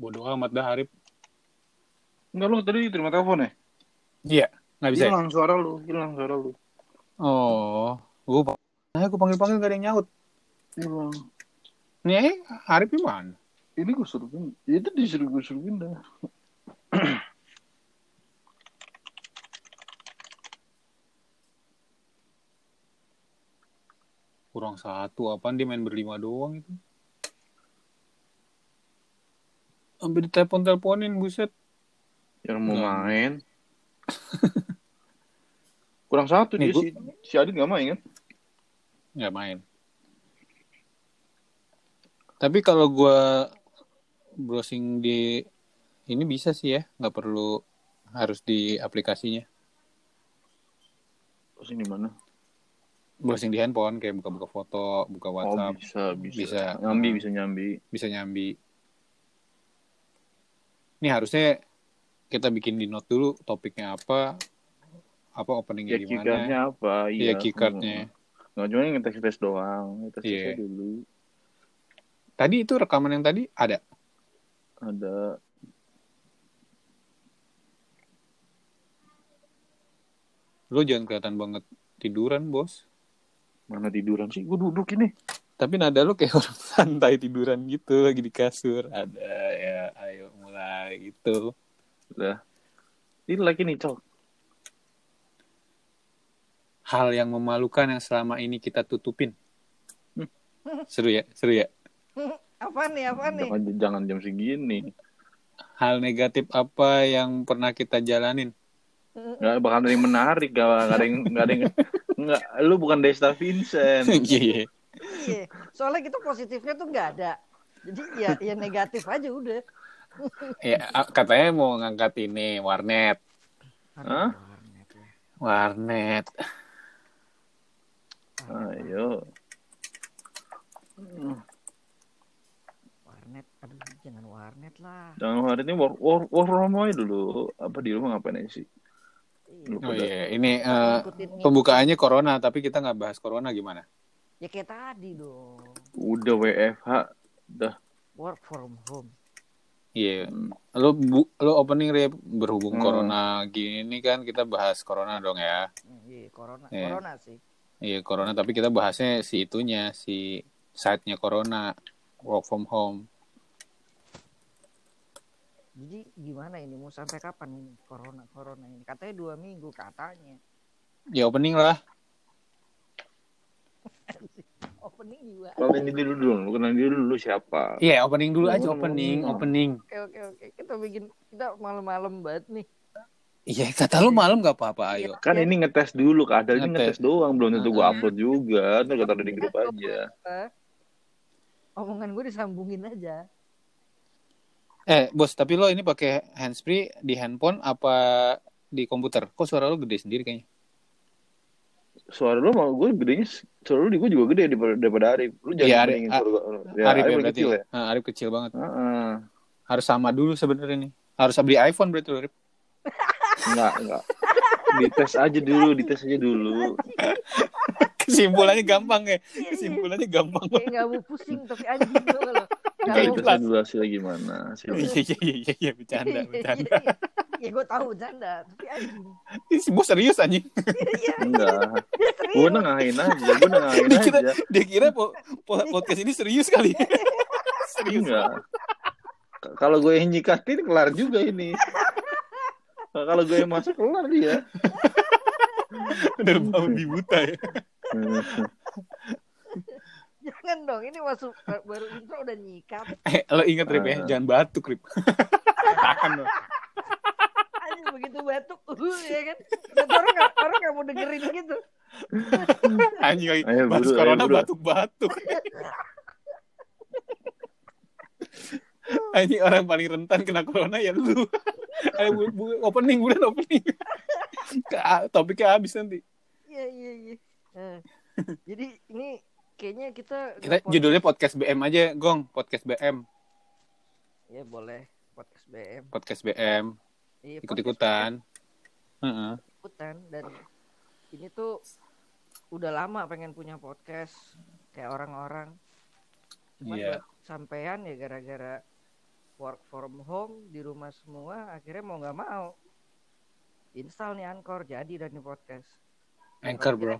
Bodoh amat dah Harip. Enggak lu tadi terima telepon ya? Iya, nggak bisa. ya? Hilang suara lu, hilang suara lu. Oh, gua nah, gua panggil-panggil gak ada yang nyaut. Hilang. Nih, eh, Harip gimana? Ini gue suruh pindah. Itu disuruh gue suruh pindah. Kurang satu, apaan dia main berlima doang itu? Hampir ditelepon-teleponin, buset. Yang Ya, mau Enggak. main. Kurang satu Nih, dia gua- si, si Adit gak main kan? Nggak main. Tapi kalau gua browsing di ini bisa sih ya, nggak perlu harus di aplikasinya. Terus ini mana? Browsing di handphone kayak buka-buka foto, buka Oh WhatsApp, bisa, bisa, Bisa. Nyambi bisa nyambi. bisa nyambi. Ini harusnya kita bikin di note dulu topiknya apa, apa openingnya Ya gimana, keycardnya apa? hmm. iya keycardnya. Nggak cuma ngetes tes doang. Ngetes Iya. tes dulu. Tadi itu rekaman yang tadi ada. Ada. Lo jangan kelihatan banget tiduran bos. Mana tiduran sih? Gue duduk ini. Tapi nada lu kayak orang santai tiduran gitu lagi di kasur. Ada ya, ayo mulai gitu. Lah. Ini lagi nih, Cok. Hal yang memalukan yang selama ini kita tutupin. Hmm. Seru ya, seru ya. Apa nih, apa nih? Jangan, jangan jam segini. Hal negatif apa yang pernah kita jalanin? Nggak bakal ada yang menarik. Gak, nggak ada yang... Nggak ada yang... Nggak, lu bukan Desta Vincent. Iya. Iya. Soalnya kita positifnya tuh nggak ada. Jadi ya, ya negatif aja udah. ya, katanya mau ngangkat ini warnet. Hah? Warnet. Ah, Ayo. Warnet, aduh jangan warnet lah. Jangan hari ini war, war, war Romoy dulu. Apa di rumah ngapain aja sih? Iya. Lu Oh pada- iya, ini eh, Ngikutin ini. pembukaannya corona tapi kita nggak bahas corona gimana? Ya kayak tadi dong. Udah WFH. Dah. Work from home. Iya. Hmm. Lo bu, lo opening Rip. berhubung Hmm. corona gini kan kita bahas corona dong ya. Hmm, Iya, corona. Eh. Iya. Corona sih. Iya corona tapi kita bahasnya si itunya si site-nya corona work from home. Jadi gimana ini mau sampai kapan ini corona corona ini? Katanya dua minggu katanya. Ya opening lah. Opening juga. Kenalin diri dulu dong. Lu kenalin diri dulu siapa. Iya opening dulu aja Hmm. opening opening. Oke oke oke. Kita bikin kita malam-malam banget nih. Iya kata lu malam nggak apa-apa ayo. Kan Ya. ini ngetes dulu, Kak. Ada Iya. ini Ngetes. ngetes doang, belum tentu gua Hmm. upload juga. Ntar gua taruh di grup aja. Eh, Omongan gue disambungin aja. Eh bos tapi lo ini pakai handsfree di handphone apa di komputer? Kok suara lo gede sendiri kayaknya? Suara lu mau gue gedenya, suara lu di gue juga gede daripada, daripada Arif. Lu jangan Iya, ya, Arif- bandingin suara gua. Ya, Arif ya lebih berarti. kecil ya? Ah, Arif kecil banget. Heeh. Harus sama dulu sebenarnya nih. Harus beli iPhone berarti lo, Arif. Enggak, enggak. Dites aja dulu, dites aja dulu. Kesimpulannya gampang ya. Iya, iya. Kesimpulannya gampang. Kayak nggak mau pusing tapi anjing tau nggak lo. Nggak Enggak, mau dites aja dulu hasilnya gimana. hasilnya. Iya iya iya, iya iya bercanda bercanda. ya gue tahu bercanda tapi anjing. Ih, si Bos serius anjing. Iya Enggak. dia serius. Gue nengahin aja, gue nengahin dia kira aja. dia kira po- po- podcast ini serius kali ya? serius Enggak. K- Kalau gue yang nyikatin, kelar juga ini. Kalau gue yang masuk, kelar dia. bener babi buta ya Hmm. Jangan dong ini masuk baru intro udah nyikat. eh, lo inget Rip ya Ah. jangan batuk Rip tahan lo Anjing begitu batuk uh, ya kan. Dan orang nggak orang nggak mau dengerin gitu. anjing lagi Ayo, bahas buru, ayo, corona buru. batuk-batuk anjing orang paling rentan kena corona ya lu ayo bu- bu- opening bulan opening Ke- topiknya habis nanti Iya iya iya. Eh, Jadi ini kayaknya kita kita ngepod- judulnya podcast BM aja Gong podcast BM ya boleh podcast BM. Ya, podcast BM Iya, ikut-ikutan Heeh. ikutan dan ini tuh udah lama pengen punya podcast kayak orang-orang cuman Iya. buat sampean ya gara-gara work from home di rumah semua akhirnya mau nggak mau install nih Anchor jadi dan di podcast Anchor bro.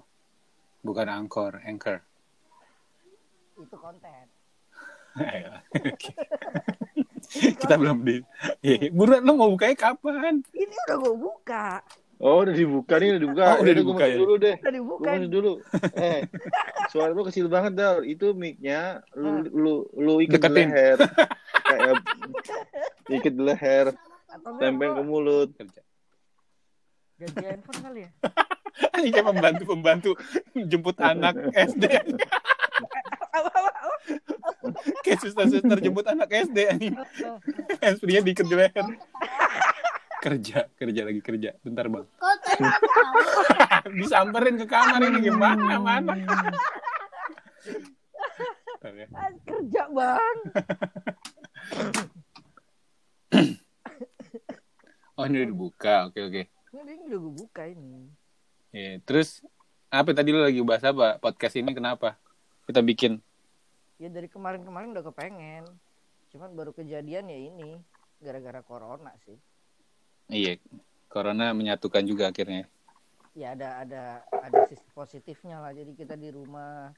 Bukan angkor, anchor. itu konten Oke. Kita belum di. Iya, iya. Buruan lo mau bukanya kapan? ini udah gue buka Oh udah dibuka nih udah dibuka. Oh, udah Yaudah, dibuka gua masuk ya. dulu deh. udah Gue dibuka masuk dulu. Eh suara lu kecil banget Dal. Itu mic-nya lu lu lu ikat di Deketin. leher. Kayak ikat di leher, atau tempeng ke enggak mulut. Kerja. gue gaji handphone kali ya Ini kayak pembantu pembantu jemput anak SD. apa apa apa Kayak suster suster jemput anak SD. anjing. Handsfree-nya diikat di leher. Kerja, kerja lagi kerja. Bentar bang. Kau terlalu tahu. Disamperin ke kamar ini gimana mana? ya. Ah, kerja bang Oh ini udah dibuka, oke oke. ini ini udah gue buka ini Iya, Terus apa tadi lo lagi bahas apa? Podcast ini kenapa kita bikin? ya dari kemarin-kemarin udah kepengen cuman baru kejadian ya ini gara-gara corona sih Iya, corona menyatukan juga akhirnya. ya ada ada ada sisi positifnya lah jadi kita di rumah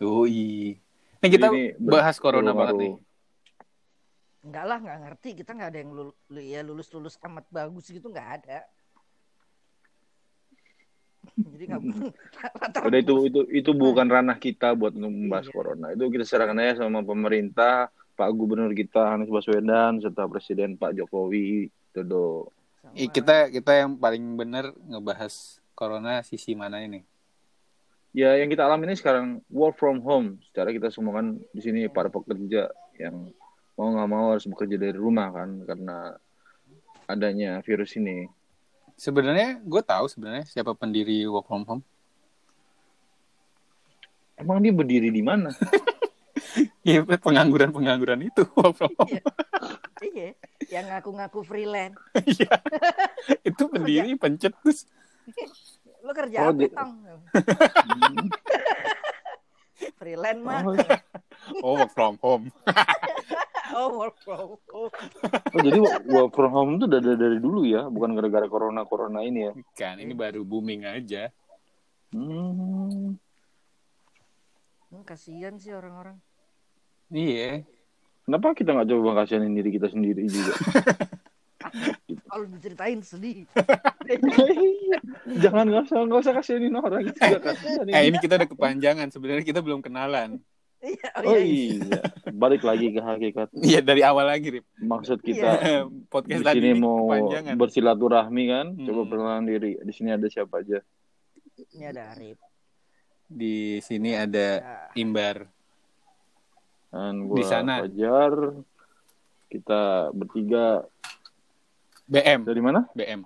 Yoi. Nih kita Jadi ini ber- bahas corona baru- banget baru. nih. enggak lah nggak ngerti kita nggak ada yang lulu, lu- ya lulus lulus amat bagus gitu nggak ada jadi nggak rata-rata Udah itu itu itu bukan ranah kita buat membahas Iya. corona. Itu kita serahkan aja sama pemerintah, Pak Gubernur kita Anies Baswedan serta Presiden Pak Jokowi gitu, Dodo. sama- Ih, Iya, kita kita yang paling bener ngebahas corona sisi mana ini? Ya yang kita alami ini sekarang work from home. Secara kita semua kan di sini para pekerja yang mau nggak mau harus bekerja dari rumah kan karena adanya virus ini. Sebenarnya gue tahu sebenarnya siapa pendiri work from home. Emang dia berdiri di mana? Iya, pengangguran pengangguran itu work from home. iya yang ngaku-ngaku freelance Iya. itu pendiri pencetus. lo Oh, kerja apa di- tong freelance mah Oh, Oh work from home. oh work from home oh, jadi work from home itu dari dari dulu ya, bukan gara-gara corona corona ini ya. Kan ini baru booming aja. Hmm. Hmm, kasihan sih orang-orang Iya. Kenapa kita nggak coba kasihanin diri kita sendiri juga? kalau Oh, diceritain sedih Jangan nggak usah nggak usah kasihanin orang itu juga kasihanin. Iya. Eh ini kita udah kepanjangan. Sebenarnya kita belum kenalan. iya Oh iya, balik lagi ke hakikat Iya dari awal lagi, Rip. maksud kita. Di Podcast tadi sini ini mau kepanjangan. bersilaturahmi kan, coba Hmm. perkenalan diri. Di sini ada siapa aja? ini ada Arif Di sini ada Nah, Imbar. Di Dan gua sana. Fajar. Kita bertiga BM, dari mana? BM.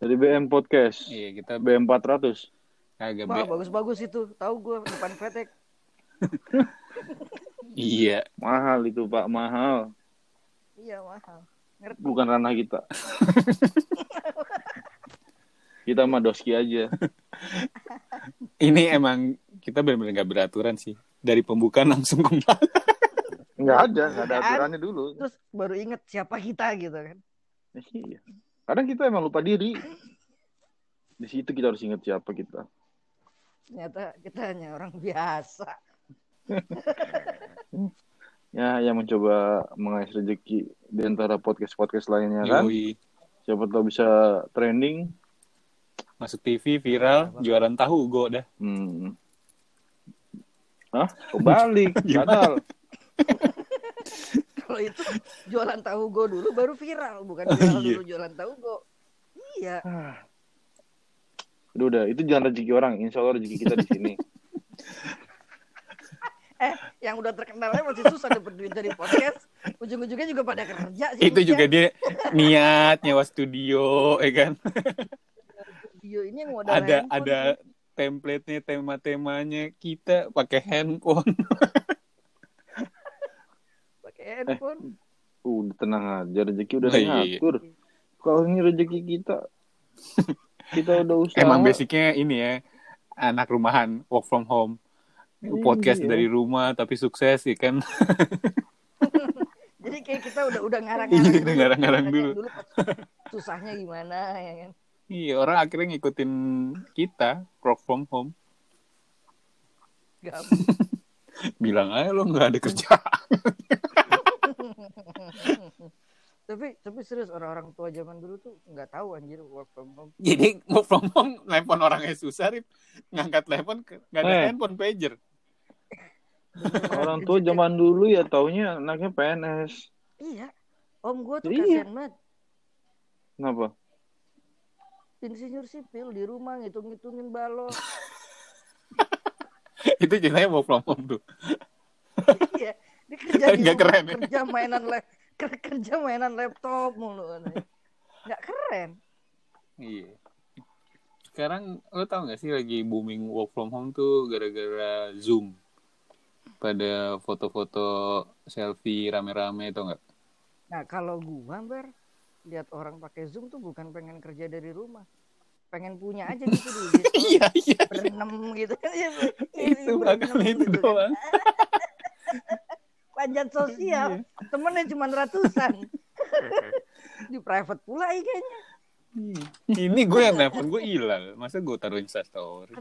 Dari BM Podcast. Iya, kita BM 400. Ya, agak Wah, BM. bagus-bagus itu. Tahu gue depan kretek. Iya. Mahal itu, Pak, mahal. Iya, mahal. Ngerti. Bukan ranah kita. kita mah doski aja. Ini emang kita benar-benar nggak beraturan sih. Dari pembukaan langsung ke Nggak ada, nggak ada aturannya dulu. Terus baru inget siapa kita gitu kan. Iya. Kadang kita emang lupa diri. Di situ kita harus ingat siapa kita. Ternyata kita hanya orang biasa. Ya, yang mencoba mengais rezeki di antara podcast-podcast lainnya kan. Yoi. Siapa tahu bisa trending. Masuk TV viral, jualan tahu go dah. Hmm. Hah? Kebalik. Batal. Kalau itu jualan tahu go dulu baru viral, bukan viral Iya. dulu jualan tahu go. Iya, Ah. Udah, udah. Itu jangan rezeki orang. Insya Allah rezeki kita di sini. yang udah terkenal aja masih susah dapet duit dari podcast. Ujung-ujungnya juga pada kerja sih. Itu juga dia niat nyewa studio, ya kan? Video ini yang modal ada handphone. ada template-nya, tema-temanya kita pakai handphone. pakai handphone. Udah tenang aja. Rezeki udah Oh, iya, iya. ngatur. Kalau ini rezeki kita, kita udah usaha. Emang basicnya ini ya, anak rumahan, work from home. Podcast Iya. dari rumah tapi sukses ya kan. kayak kita udah udah Iya, ngarang-ngarang udah ngarang-ngarang Kita dulu. kayak susahnya gimana ya kan Iya, orang akhirnya ngikutin kita work from home. Gak- Bilang aja lo nggak ada kerjaan. tapi tapi serius orang-orang tua zaman dulu tuh nggak tahu anjir work from home Jadi work from home, telepon orangnya susah, Rip. Ngangkat telepon, ke- nggak ada Eh. handphone pager. Orang tua zaman dulu ya taunya anaknya PNS. iya om gue tuh Iya. kasihan banget Kenapa? insinyur sipil di rumah ngitung-ngitungin balon Itu ceritanya work from home tuh. iya dia kerja di Nggak rumah, keren ya? kerja mainan lap ker- kerja mainan laptop mulu aneh. nggak keren Iya. Sekarang lo tau gak sih lagi booming work from home tuh gara-gara Zoom. Pada foto-foto selfie rame-rame tau gak? nah kalau gua ber lihat orang pakai zoom tuh bukan pengen kerja dari rumah pengen punya aja gitu di IG story. iya. berenam gitu kan ya, Itu berenam bakal itu gitu kan. doang. panjat sosial Iya. temennya cuma ratusan di private pula iya IG-nya Ini gue yang nelfon gue hilang. Masa gue taruh instastory?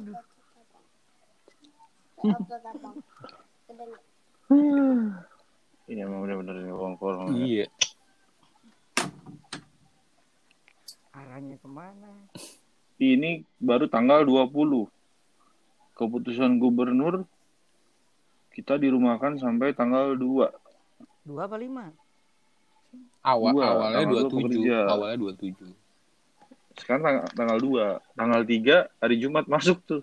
Iya emang bener-bener ini orang-orang. ya. Iya. arahnya kemana Ini baru tanggal 20. Keputusan gubernur kita dirumahkan sampai tanggal 2. dua apa lima Awal Dua, awalnya tanggal 27, dua pekerja. awalnya 27. Sekarang tang- tanggal 2. Tanggal 3 hari Jumat masuk tuh.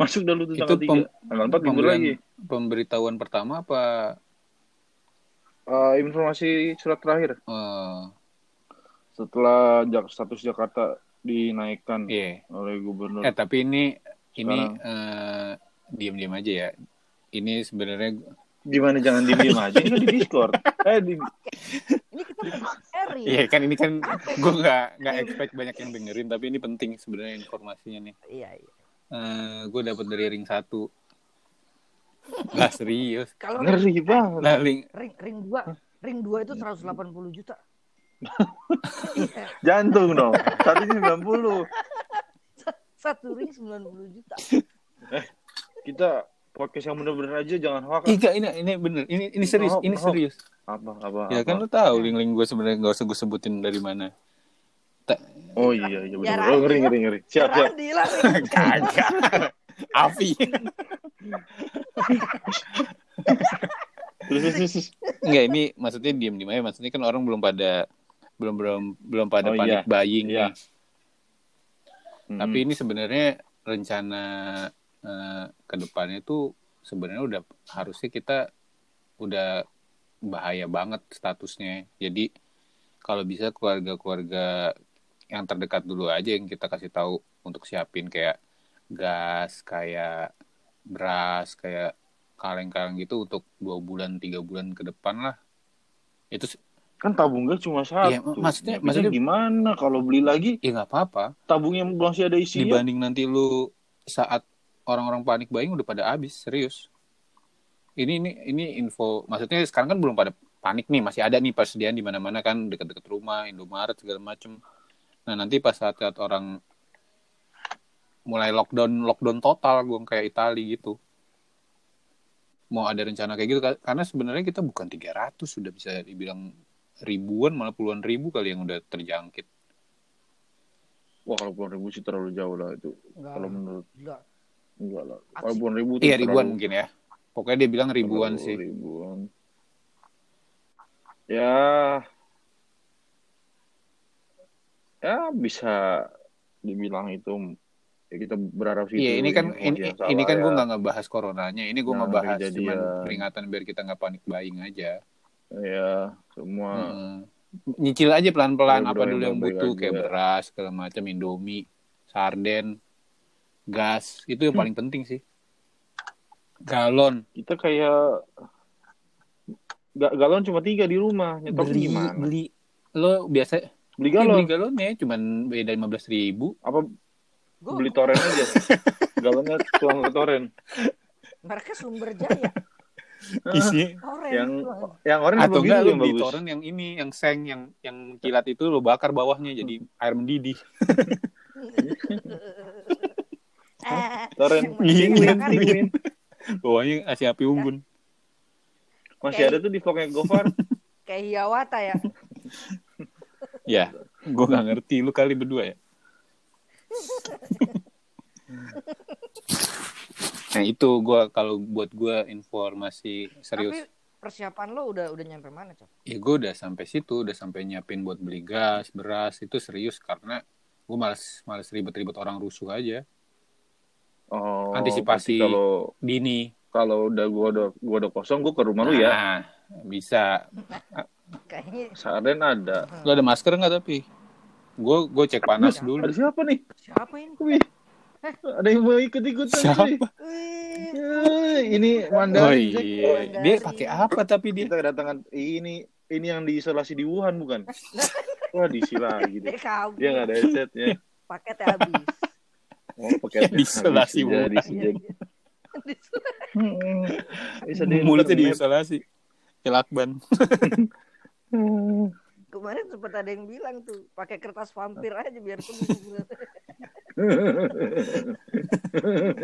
Masuk dulu tuh Itu tanggal 3. pem- Tanggal 4 libur pemberian- lagi. Pemberitahuan pertama apa Eh, informasi surat terakhir. eh Setelah Jak- status Jakarta dinaikkan iya. oleh gubernur. Eh tapi ini ini Sekarang. eh diam-diam aja ya. Ini sebenarnya Gimana jangan diem aja ini kan di Discord. Eh di ini kita seri Iya kan ini kan gue nggak nggak expect banyak yang dengerin tapi ini penting sebenarnya informasinya nih. iya iya Eh gue dapat dari ring satu. Lah serius. kalau ring, ngeri banget. Lah ring ring ring dua ring dua itu 180 juta Iya, Jantung dong. Tadi 90. satu ring 90 juta Kita podcast yang bener-bener aja jangan hoax. Ih, Iya, nggak, ini ini bener ini ini serius Maaf, ini maaf. serius. Apa apa. Ya apa. kan lu tahu link-link gue sebenarnya nggak usah gue sebutin dari mana. Oh iya iya bener. Jarang. Oh, ngeri ngeri ngeri. Siap siap. Randi lah ring. Kagak. Avi. Terus terus, terus. Enggak ini maksudnya diem diem aja maksudnya kan orang belum pada belum belum belum pada Oh, panik iya. buying Iya. nih. Hmm. Tapi ini sebenarnya rencana eh, ke depannya tuh sebenarnya udah harusnya kita udah bahaya banget statusnya. Jadi kalau bisa keluarga-keluarga yang terdekat dulu aja yang kita kasih tahu untuk siapin kayak gas, kayak beras, kayak kaleng-kaleng gitu untuk dua bulan tiga bulan ke depan lah. Itu se- kan tabungnya cuma satu. Iya, maksudnya- Tapi maksudnya- gimana kalau beli lagi ya nggak apa-apa. tabungnya masih ada isinya? dibanding nanti lu saat orang-orang panik buying udah pada habis serius ini ini ini info maksudnya sekarang kan belum pada panik nih masih ada nih persediaan di mana-mana kan dekat-dekat rumah Indomaret segala macem nah nanti pas saat, saat orang mulai lockdown lockdown total gue kayak Itali gitu mau ada rencana kayak gitu ka- karena sebenarnya kita bukan 300 sudah bisa dibilang ribuan malah puluhan ribu kali yang udah terjangkit Wah kalau puluhan ribu sih terlalu jauh lah itu. Enggak, Kalau menurut gila. enggak lah. Kalau puluhan ribu tuh iya ribuan terlalu- mungkin ya pokoknya dia bilang ribuan Aduh, sih Ribuan. Ya. Ya bisa dibilang itu ya kita berharap sih Iya itu ini kan ini, informasi yang ini salah kan gue ya. nggak ngebahas coronanya, ini gue Nah, ngebahas kejadian. cuman peringatan biar kita nggak panik buying aja. ya semua Heeh. Nyicil aja pelan-pelan Iya, apa bro, dulu yang yang baik-baik butuh kayak aja. beras segala macam, indomie, sarden, gas itu Hmm. yang paling penting sih. Galon kita kayak ga- galon cuma tiga di rumah nyetok beli gimana beli, beli lo biasa galon. galon beli galonnya cuman beda lima belas ribu. apa Gua- beli toren aja galonnya tuang ke toren mereka sumber jaya Isinya Orange. yang Oh. yang orange atau apa enggak biru lu yang beli bagus? torrent yang ini yang seng yang yang kilat itu lu bakar bawahnya jadi air mendidih Ah, Torrent. yang masih Dingin, dibakar dingin. itu. bawahnya kasih api unggun Masih ada tuh di vlognya Gofar. Kayak Hiawata ya. ya gue nggak ngerti lu kali berdua ya nah itu gua kalau buat gua informasi serius Tapi persiapan lo udah udah nyampe mana, Cok? ya gue udah sampai situ udah sampai nyiapin buat beli gas beras itu serius karena gue males males ribet-ribet orang rusuh aja Oh, Antisipasi. berarti Kalau dini kalau udah gua udah gua udah kosong, gua ke rumah lu ya. Nah, bisa Kayaknya Saren ada. lu ada masker nggak tapi gue gue cek panas dulu Ada siapa nih? siapa ini? Wih. Ada yang mau ikut ikutan siapa Wih, ini oh Mandarin. Jack. iya dia pakai apa tapi dia Kita kedatangan ini ini yang diisolasi di Wuhan bukan? Wah, diisi lagi Dia deh. kabur. Dia nggak ada headsetnya. Paketnya habis. Oh, pakai Yang diisolasi habis Wuhan. jadi si Jack. Iya, Hmm, Bisa di mulutnya internet. diisolasi celakban Hmm. Kemarin sempat ada yang bilang tuh, pakai kertas vampir aja biar sembuh.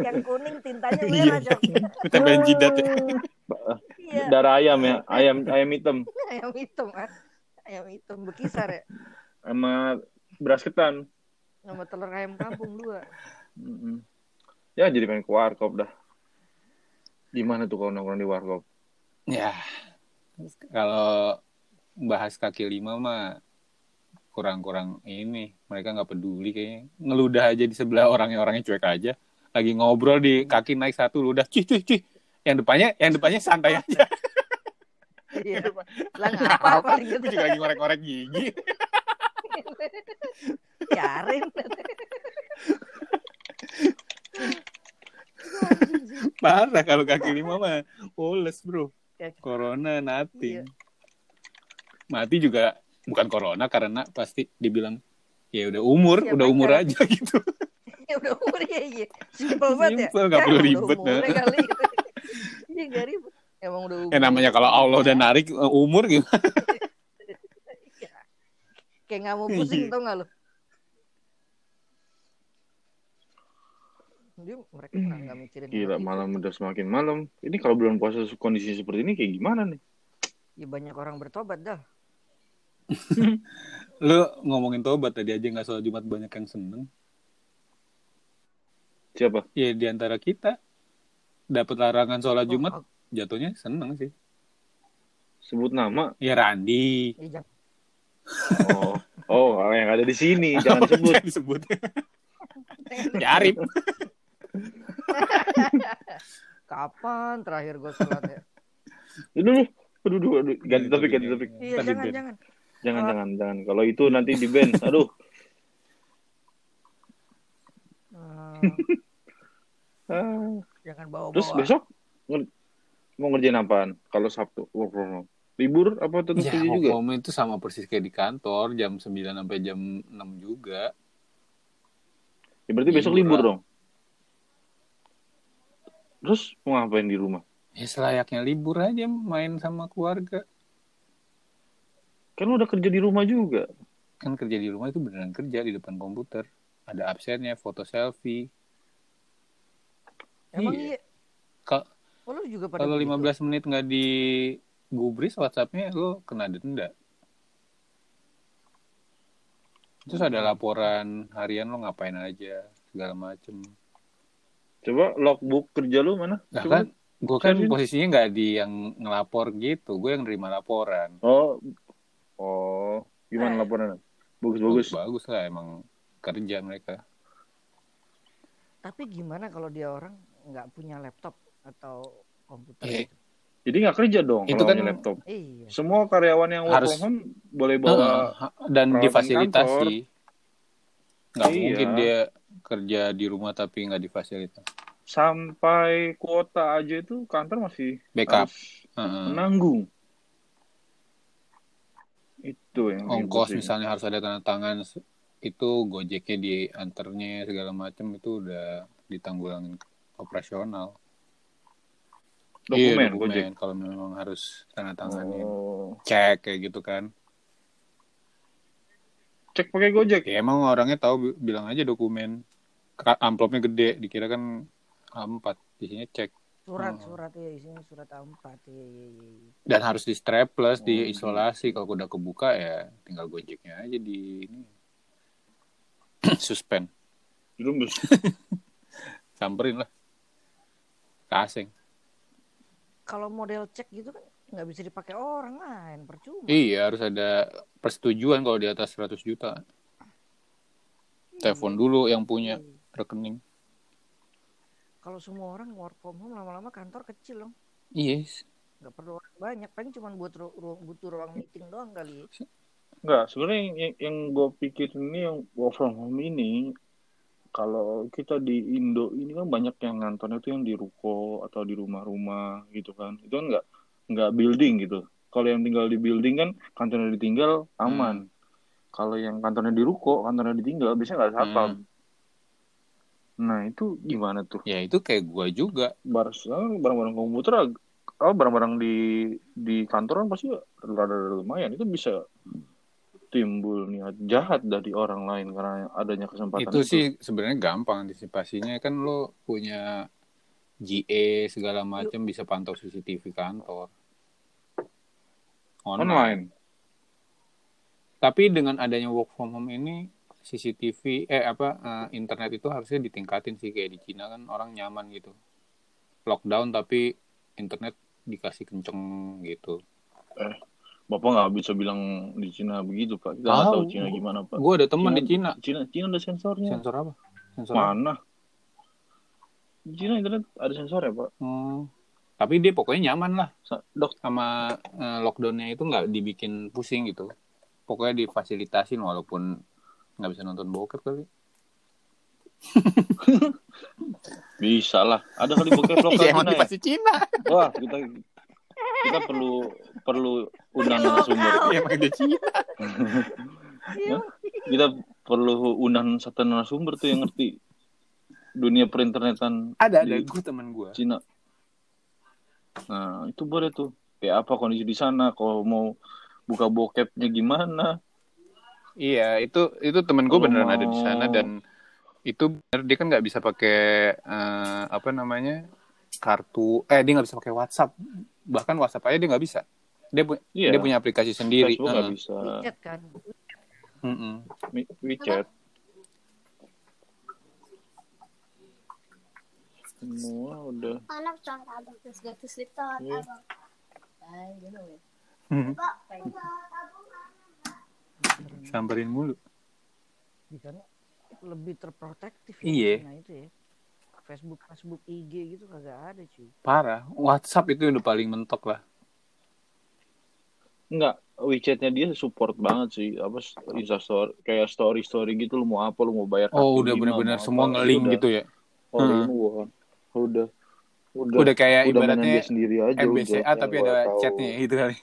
yang kuning tintanya Iya. merah, Cok. tempelin jidat ya. Iya. Darah ayam ya, ayam ayam hitam Ayam hitam, ah. Ayam hitam berkisar ya. sama beras ketan. Sama telur ayam kampung dua. Mm-mm. Ya jadi pengen ke warkop dah. Di mana tuh kalau nongkrong di warkop? ya kalau bahas kaki lima mah kurang-kurang ini mereka nggak peduli kayaknya ngeludah aja di sebelah orangnya orangnya cuek aja lagi ngobrol di kaki naik satu ludah cih cih cih yang depannya yang depannya santai aja Iya. Lah ngapa paling Gua gitu? juga lagi ngorek-ngorek gigi Biarin. Iya. parah kalau kaki lima mah oles bro corona nothing Iya. mati juga bukan corona karena pasti dibilang ya udah umur Siapa udah yang umur tahu? aja gitu Ya udah umur ya iya. Simpel banget ya. Simpel, nggak perlu Ya, udah ribet, umurnya nah. kali gitu. Iya nggak ribet. Emang udah umur. ya namanya kalau Allah udah narik eh, umur gitu Iya. Kayak nggak mau pusing Iya. tau nggak lo? Dia mereka nggak nggak mikirin Gila hal itu. malam udah semakin malam. Ini kalau bulan puasa kondisi seperti ini kayak gimana nih? Ya banyak orang bertobat dah. lu ngomongin tobat tadi aja nggak soal Jumat banyak yang seneng Siapa? ya diantara kita dapat larangan sholat Oh, Jumat oh, jatuhnya seneng sih Sebut nama. ya Randi ya jangan. Oh, oh orang yang ada di sini jangan Apa sebut. yang disebut ya Arif Kapan terakhir gue sholat ya? Aduh, aduh, aduh, aduh, aduh. ganti Itu topik, dia. ganti topik. Iya Tadi jangan Ben. jangan. Jangan, Ah. jangan, jangan. Kalau itu nanti di band. Aduh, Eh, Ah. jangan bawa bawa. Terus besok nge- mau ngerjain apaan? Kalau Sabtu work from home. Libur apa tetap ya kerja juga? hukum itu sama persis kayak di kantor jam 9 sampai jam 6 juga Ya, berarti besok Libur libur lah. dong. Terus mau ngapain di rumah? ya selayaknya libur aja main sama keluarga Kan lu udah kerja di rumah juga. kan kerja di rumah itu beneran kerja di depan komputer ada absennya foto selfie Emang Iya. iya. Ka- Oh, lu juga pada kalau gitu. begitu? 15 menit nggak di gubris WhatsAppnya lo kena denda terus ada laporan harian lo ngapain aja segala macem Coba logbook kerja lu mana? nah Coba. kan gue kan Serius? posisinya nggak di yang ngelapor gitu gue yang nerima laporan Oh. Oh, gimana Eh. laporannya? Bagus-bagus. bagus lah emang kerja mereka Tapi gimana kalau dia orang nggak punya laptop atau Iya. komputer? gitu? Jadi nggak kerja dong Itu kalau kan- punya laptop. Iya. Semua karyawan yang work Harus- from home boleh bawa Heeh, dan peralatan difasilitasi nggak Iya. mungkin dia kerja di rumah tapi nggak difasilitasi sampai kuota aja itu kantor masih backup Hmm. harus Heeh. menanggung itu yang ongkos Iya, ribet sih. misalnya harus ada tanda tangan se- itu gojeknya diantarnya segala macam itu udah ditanggulangin operasional Dokumen, Iya, Gojek. dokumen kalau memang harus tanda tanganin. Oh. Cek kayak gitu kan. Cek pakai Gojek. Ya emang orangnya tahu bi- bilang aja dokumen. Ka- Amplopnya gede, dikira kan A4, isinya cek Oh. Surat, surat ya isinya surat A4. Iya, iya, iya, iya. dan harus di strapless, Oh, di gitu. isolasi. Kalau udah kebuka ya tinggal gojeknya aja di ini. Suspend, Dirumbus. samperin lah. Kasing. Kalau model cek gitu kan nggak bisa dipakai orang lain, percuma. Iya, harus ada persetujuan kalau di atas 100 juta. Telepon dulu yang punya Iya. rekening. Kalau semua orang work from home lama-lama kantor kecil dong. Yes. Nggak perlu orang banyak, paling cuma buat ru- ruang butuh ruang meeting doang kali. ya. Enggak, sebenarnya yang, yang, yang gue pikirin ini yang work from home ini kalau kita di Indo ini kan banyak yang ngantornya tuh yang di ruko atau di rumah-rumah gitu kan. Itu kan enggak enggak building gitu. Kalau yang tinggal di building kan kantornya ditinggal aman. Hmm. Kalau yang kantornya di ruko, kantornya ditinggal biasanya nggak satpam. Hmm. Nah, itu gimana tuh? Ya itu kayak gua juga. Bar- eh, barang-barang komputer ag- oh, barang-barang di di kantoran pasti rada-rada lumayan itu bisa timbul niat jahat dari orang lain karena adanya kesempatan itu sih sebenarnya gampang antisipasinya kan lo punya GE segala macam bisa pantau CCTV kantor. Online. online Tapi dengan adanya work from home ini CCTV eh apa eh, internet itu harusnya ditingkatin sih kayak di Cina kan orang nyaman gitu. Lockdown tapi internet dikasih kenceng gitu. bapak nggak bisa bilang di Cina begitu pak kita nggak Tahu. tahu Cina gimana pak Gua ada teman di Cina. Cina Cina ada sensornya Sensor apa? Sensor apa? mana Di Cina internet ada sensornya pak Hmm. Tapi dia pokoknya nyaman lah. Sa- dok sama eh, lockdownnya itu nggak dibikin pusing gitu pokoknya difasilitasin walaupun nggak bisa nonton bokep kali bisa lah ada kali bokep lokal Cina ya? Iya, Cina wah kita kita perlu perlu undang narasumber ya emang dia Cina Iya. kita perlu undang satu narasumber tuh yang ngerti dunia perinternetan ada ada Di- gue temen gue Cina. Nah, itu boleh tuh. Kayak apa kondisi di sana kalau mau buka bokepnya gimana? iya itu itu temen gue Kalau beneran mau- ada di sana dan itu bener dia kan nggak bisa pakai eh, apa namanya kartu eh dia nggak bisa pakai WhatsApp bahkan WhatsApp aja dia nggak bisa dia, pu- Iya. dia punya ah. aplikasi sendiri Facebook nggak Heeh. bisa. WeChat kan. Mm-mm. Mi- WeChat. Semua udah. Anak contoh abang terus gratis lipat Iya. abang. Ay, gano'n ya. Hmm. Pak, Iya. samperin mulu Di sana lebih terprotektif Iya. Nah itu ya. Facebook, Facebook, IG gitu kagak ada cuy. parah WhatsApp itu udah paling mentok lah Enggak, WeChatnya dia support banget sih. Apa Insta story kayak story story gitu lu mau apa lu mau bayar Oh kaki udah lima, benar-benar mau semua apa, ngeling udah gitu ya. all in Hmm. one. Udah. Udah. Udah kayak udah mainan ibaratnya dia sendiri aja MBCA tapi ada chatnya gitu kali.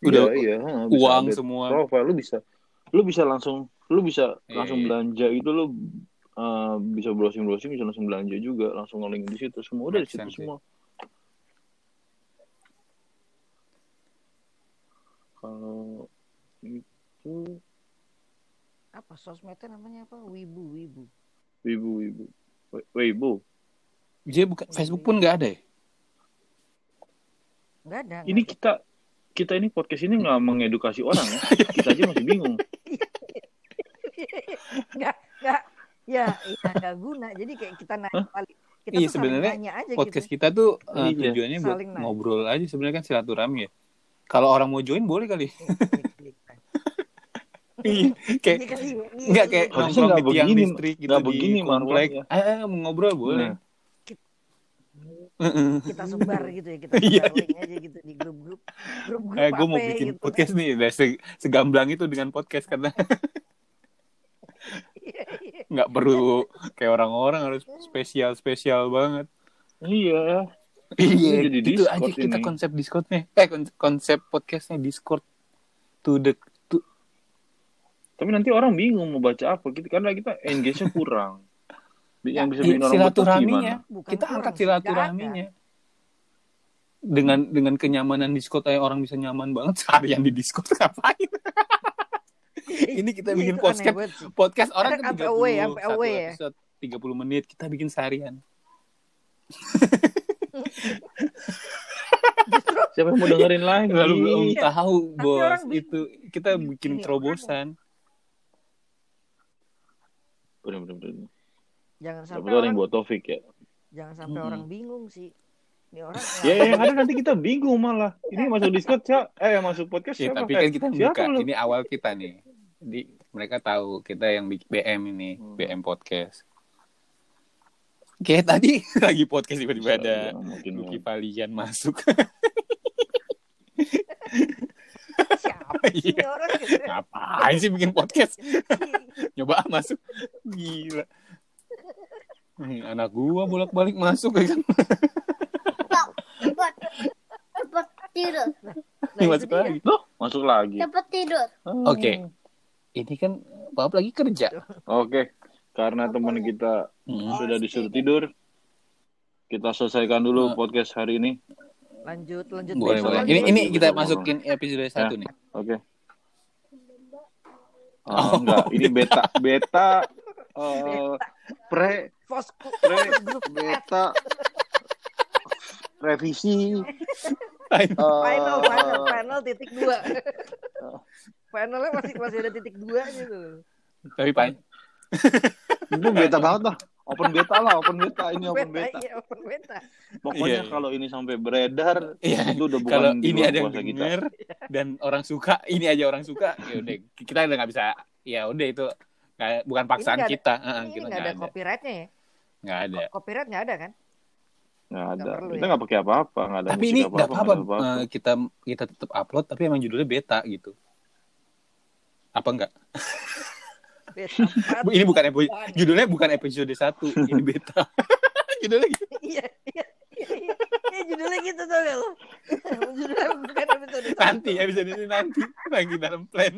udah Udah tahu. iya, iya, ha, bisa uang update semua. profile lu bisa lu bisa langsung lu bisa Iya, langsung iya. belanja itu lu eh, bisa browsing browsing bisa langsung belanja juga langsung nge-link di situ semua udah di Make situ sense, semua kalau itu Apa sosmednya namanya apa? Wibu, Wibu. wibu wibu We- Weibo Dia bukan Facebook pun nggak ada ya. Nggak ada. ini nggak kita kita ini podcast ini nggak mengedukasi orang ya kita aja masih bingung ada. nggak, nggak. Ya, iya, nggak guna. Jadi kayak kita naik balik. Iya, Kita tuh saling sebenarnya nanya aja Podcast gitu. kita tuh eh, Iya. tujuannya buat Saling naik. ngobrol aja sebenarnya kan silaturahmi ya. Kalau orang mau join boleh kali. Klik, klik, klik. Iya. kayak Iya kali, iya, iya, nggak iya. kayak Harusnya nongkrong di nggak tiang begini, listrik gitu nggak di begini, Marwan, Nah. komplek. ya. Eh, eh, mau ngobrol boleh. Heeh. kita sebar gitu ya kita Iya, sebar link aja gitu di grup-grup grup-grup Eh, gue mau apa bikin gitu kan. podcast nih, Nah, se- segamblang itu dengan podcast karena Iya, iya. nggak perlu kayak orang-orang harus spesial spesial banget iya iya jadi itu Discord aja kita ini. konsep discordnya eh kon- konsep podcastnya discord to the to- tapi nanti orang bingung mau baca apa kita karena kita engage-nya kurang Yang bisa Iya, bikin orang betah silaturahminya. gimana? Bukan Kita kurang, angkat nggak ada. silaturahminya. Dengan dengan kenyamanan diskot aja orang bisa nyaman banget seharian di diskot ngapain? Ini kita Iya, bikin itu aneh podcast banget sih. podcast orang Kadang kan sampai 30 away, sampai satu away ya. episode 30 menit kita bikin seharian. Justru Siapa yang mau dengerin lagi? Iya. Lalu belum tahu Tapi bos orang bingung. itu kita Ini- bikin ini terobosan. Bener, bener, bener. jangan Siapa sampai tahu ada orang yang buat Taufik ya. jangan sampai Mm-mm. Iya. orang bingung sih. Ini orang Ya, ya, kadang nanti kita bingung malah. Ini masuk Discord siapa? Eh, yang masuk podcast Ya, siapa? tapi Eh, kan kita buka. siapa lu? Ini awal kita nih. Jadi mereka tahu kita yang bikin BM ini, Hmm. BM podcast. Kayak tadi lagi podcast tiba-tiba ada Ya, mungkin Lucky Palian masuk. siapa Iya. sih ini orang? gitu. Nah, Ngapain sih bikin podcast? Nyoba ah, masuk. Gila. Hmm, Anak gua bolak-balik masuk ya kan. Cepat. Cepat tidur. Nah, itu masuk dia. lagi. Loh, masuk lagi. Cepat tidur. Oh. Oke. Ini kan Pap lagi kerja. Oke, karena Apa teman ya? kita Hmm. sudah disuruh tidur, kita selesaikan dulu Nah. podcast hari ini. Lanjut lanjut. Boleh, besok boleh. lagi. Ini ini Iya, Besok kita lagi. masukin episode satu nih. Oke. Oh, Oh, enggak, ini beta beta eh, pre Fosku. pre beta revisi Ayo. eh, Final final Oh. final titik dua. Finalnya masih masih ada titik dua gitu. Tapi Pak, itu beta banget lah. Open beta lah, open beta ini open beta. iya, open beta. Pokoknya Iya, iya. kalau ini sampai beredar Iya. itu udah bukan kalau di ini luar ada yang kuasa kita. denger dan orang suka, ini aja orang suka, ya udah kita udah nggak bisa. Ya udah itu nggak- bukan paksaan nggak ada- kita. Heeh, kita ini nggak ada nggak ada. copyrightnya ya? Nggak ada. Ko- Copyright nggak ada kan? Nggak ada. Nggak perlu Kita ya. nggak pakai apa-apa, nggak ada Tapi musik ini nggak apa-apa nggak ada eh, kita kita tetap upload tapi emang judulnya beta gitu. Apa enggak? Beta. empat. Bu, Ini bukan episode judulnya bukan episode satu, ini beta. judulnya gitu. Iya, iya, iya. Iya, judulnya gitu tau gak lo? judulnya bukan episode satu. nanti ya. episode ini nanti lagi dalam plan.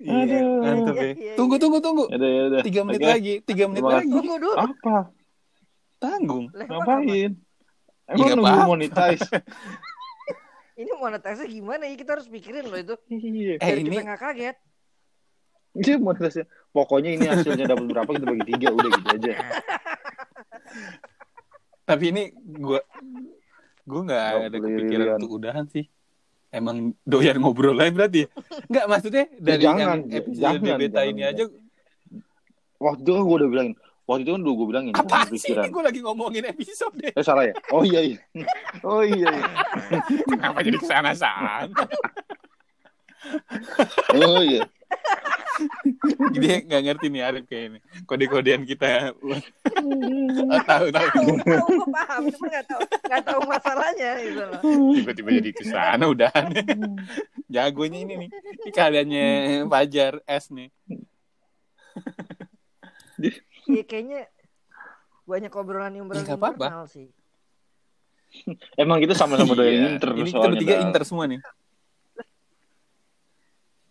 Iya, Aduh. mantap Iya, ya. iya, Tunggu tunggu tunggu. Yaudah, yaudah. Tiga menit Oke. lagi, tiga menit Terima lagi. Tunggu Oh, dulu. ya, Apa? Tanggung. Lah, emang apa? Ngapain? Emang Iya, nggak nunggu apa-apa. monetize? Ini monetisasi gimana ya? Kita harus pikirin loh itu. Eh Iya. Biar ini kita nggak kaget. Iya, monetisasi. Pokoknya ini hasilnya dapat berapa kita bagi tiga udah gitu aja. tapi ini gua gua nggak Nggak ada beli kepikiran lilian. untuk udahan sih. Emang doyan ngobrol lain berarti ya? Nggak maksudnya dari jangan, yang episode jangan, beta jangan, ini jangan. aja Waktu itu kan gue udah bilangin. Waktu itu kan dulu gue bilangin. apa jangan sih kepikiran. ini gua lagi ngomongin episode deh. Eh salah ya? Oh iya iya. Oh iya. iya. Kenapa jadi kesana sana? Oh iya. Dia nggak ngerti nih Arif kayak ini kode-kodean kita. Oh, tahu tahu Tahu, tahu, gue paham. Cuma nggak tahu, nggak tahu masalahnya gitu loh. tiba-tiba jadi kesana udahan. Jagonya ini nih, ini kaliannya Fajar S nih. Iya, kayaknya banyak obrolan yang Ya, nggak apa-apa. internal sih. Emang kita sama-sama Iya, doyan inter Ini kita soalnya. bertiga Dal. inter semua nih.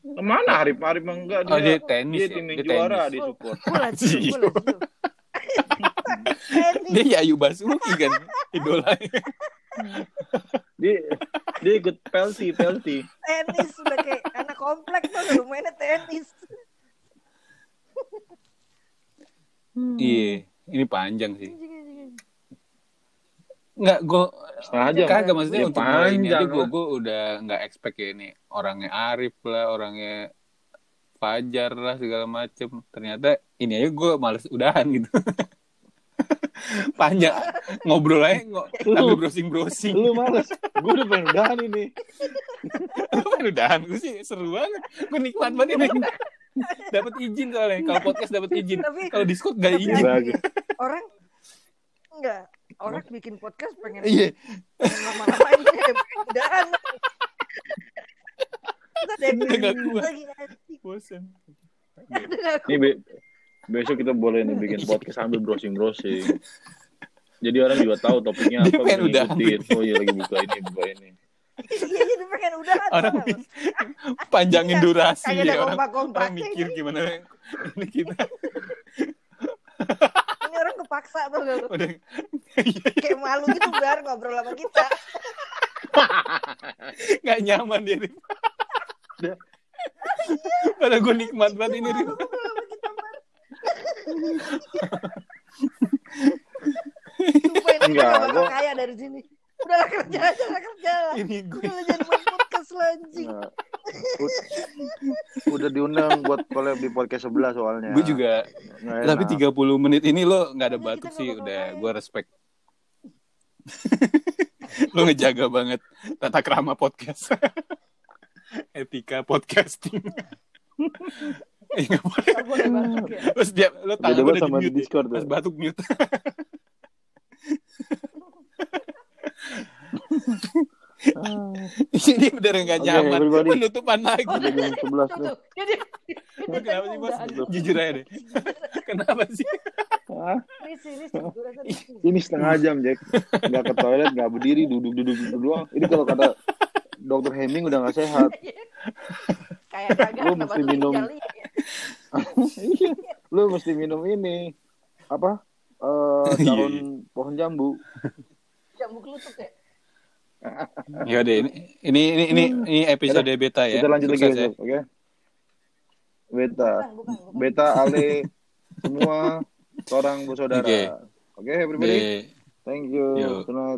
Mana Arif? Arif mah enggak. Oh, dia tenis ya? tim yang Dia juara, tenis. dia support. Gue lazio, gue lazio. Dia Yayu Basuki kan idolanya. Dia, dia ikut pelti, pelti. Tenis udah kayak anak komplek tuh lu mainnya tenis. Iya, ini panjang sih. Nggak, gue Setengah jam. kagak maksudnya Ya, untuk mulai ini aja panjang gue lah. gue udah nggak expect ya ini orangnya Arif lah, orangnya Fajar lah segala macem. Ternyata ini aja gue males udahan gitu. panjang ngobrol aja ngo sambil browsing browsing Lu males. Gue udah pengen udahan ini. lu kan udahan gue sih seru banget gue nikmat banget ini dapat izin soalnya kalau podcast dapat izin Tapi- kalau Discord gak tapi izin ada- Bagus. Orang enggak orang bikin podcast pengen iya pengen lama-lama iya. ini ada perbedaan. Kita ada yang Udah nggak kuat. lagi anjing, bosan udah nggak kuat. Ini be- besok kita boleh nih bikin podcast sambil browsing-browsing. Jadi orang juga tahu topiknya Dia apa pengen udahan. ngikutin. Oh iya lagi buka ini, buka ini. Iya, jadi pengen udahan. orang tau nggak lu? panjangin durasi Kagak ada ya orang kompak-kompaknya orang mikir gimana ini kita Ini orang kepaksa tuh lu. udah Kayak malu gitu biar ngobrol sama kita. nggak nyaman dia Rif. Padahal gue nikmat banget ini Rif. Iya. Sumpah ini Enggak, gak bakal gua- kaya dari sini. Udah lah kerja aja lah kerja lah. Ini gue Udah lah jadi buat podcast lah anjing. Nah, ud- udah diundang buat collab di podcast sebelah Ya, soalnya. gue juga Nggak enak. tapi 30 menit ini lo nggak ada Udah, batuk ya, Iya, kita sih nggak bakal udah main. gue respect lo ngejaga banget tata krama podcast etika podcasting Eh, nggak boleh. Gak boleh batuk ya. Terus dia lo Beda tangan banget udah di sama di mute ya. Discord. Pas tuh. batuk mute. Ini bener nggak Oke, nyaman. everybody. Penutupan lagi. Udah jam 11 Tuh, tuh. tuh. Jadi Lu kenapa sih bos? Udah. Jujur aja deh. Kenapa sih? Ah, Risi, Risi, gua rasa Risi. ini setengah jam, Jack. Nggak ke toilet, nggak berdiri, duduk-duduk duduk doang. Ini kalau kata dokter Heming udah nggak sehat. Kayak kagak Lu ada mesti batu minum. ginjal iya. Iya. Lu mesti minum ini. Apa? Eh, daun pohon jambu. Jambu kelutuk ya. Ya udah ini ini ini ini, ini episode beta ya. Kita lanjut lagi, Sukses ya. Jack, oke? Beta. Bukan, bukan, bukan. Beta, Ale, semua orang bersaudara. Oke. Oke, everybody. Deh. Thank you. Yuk. Selamat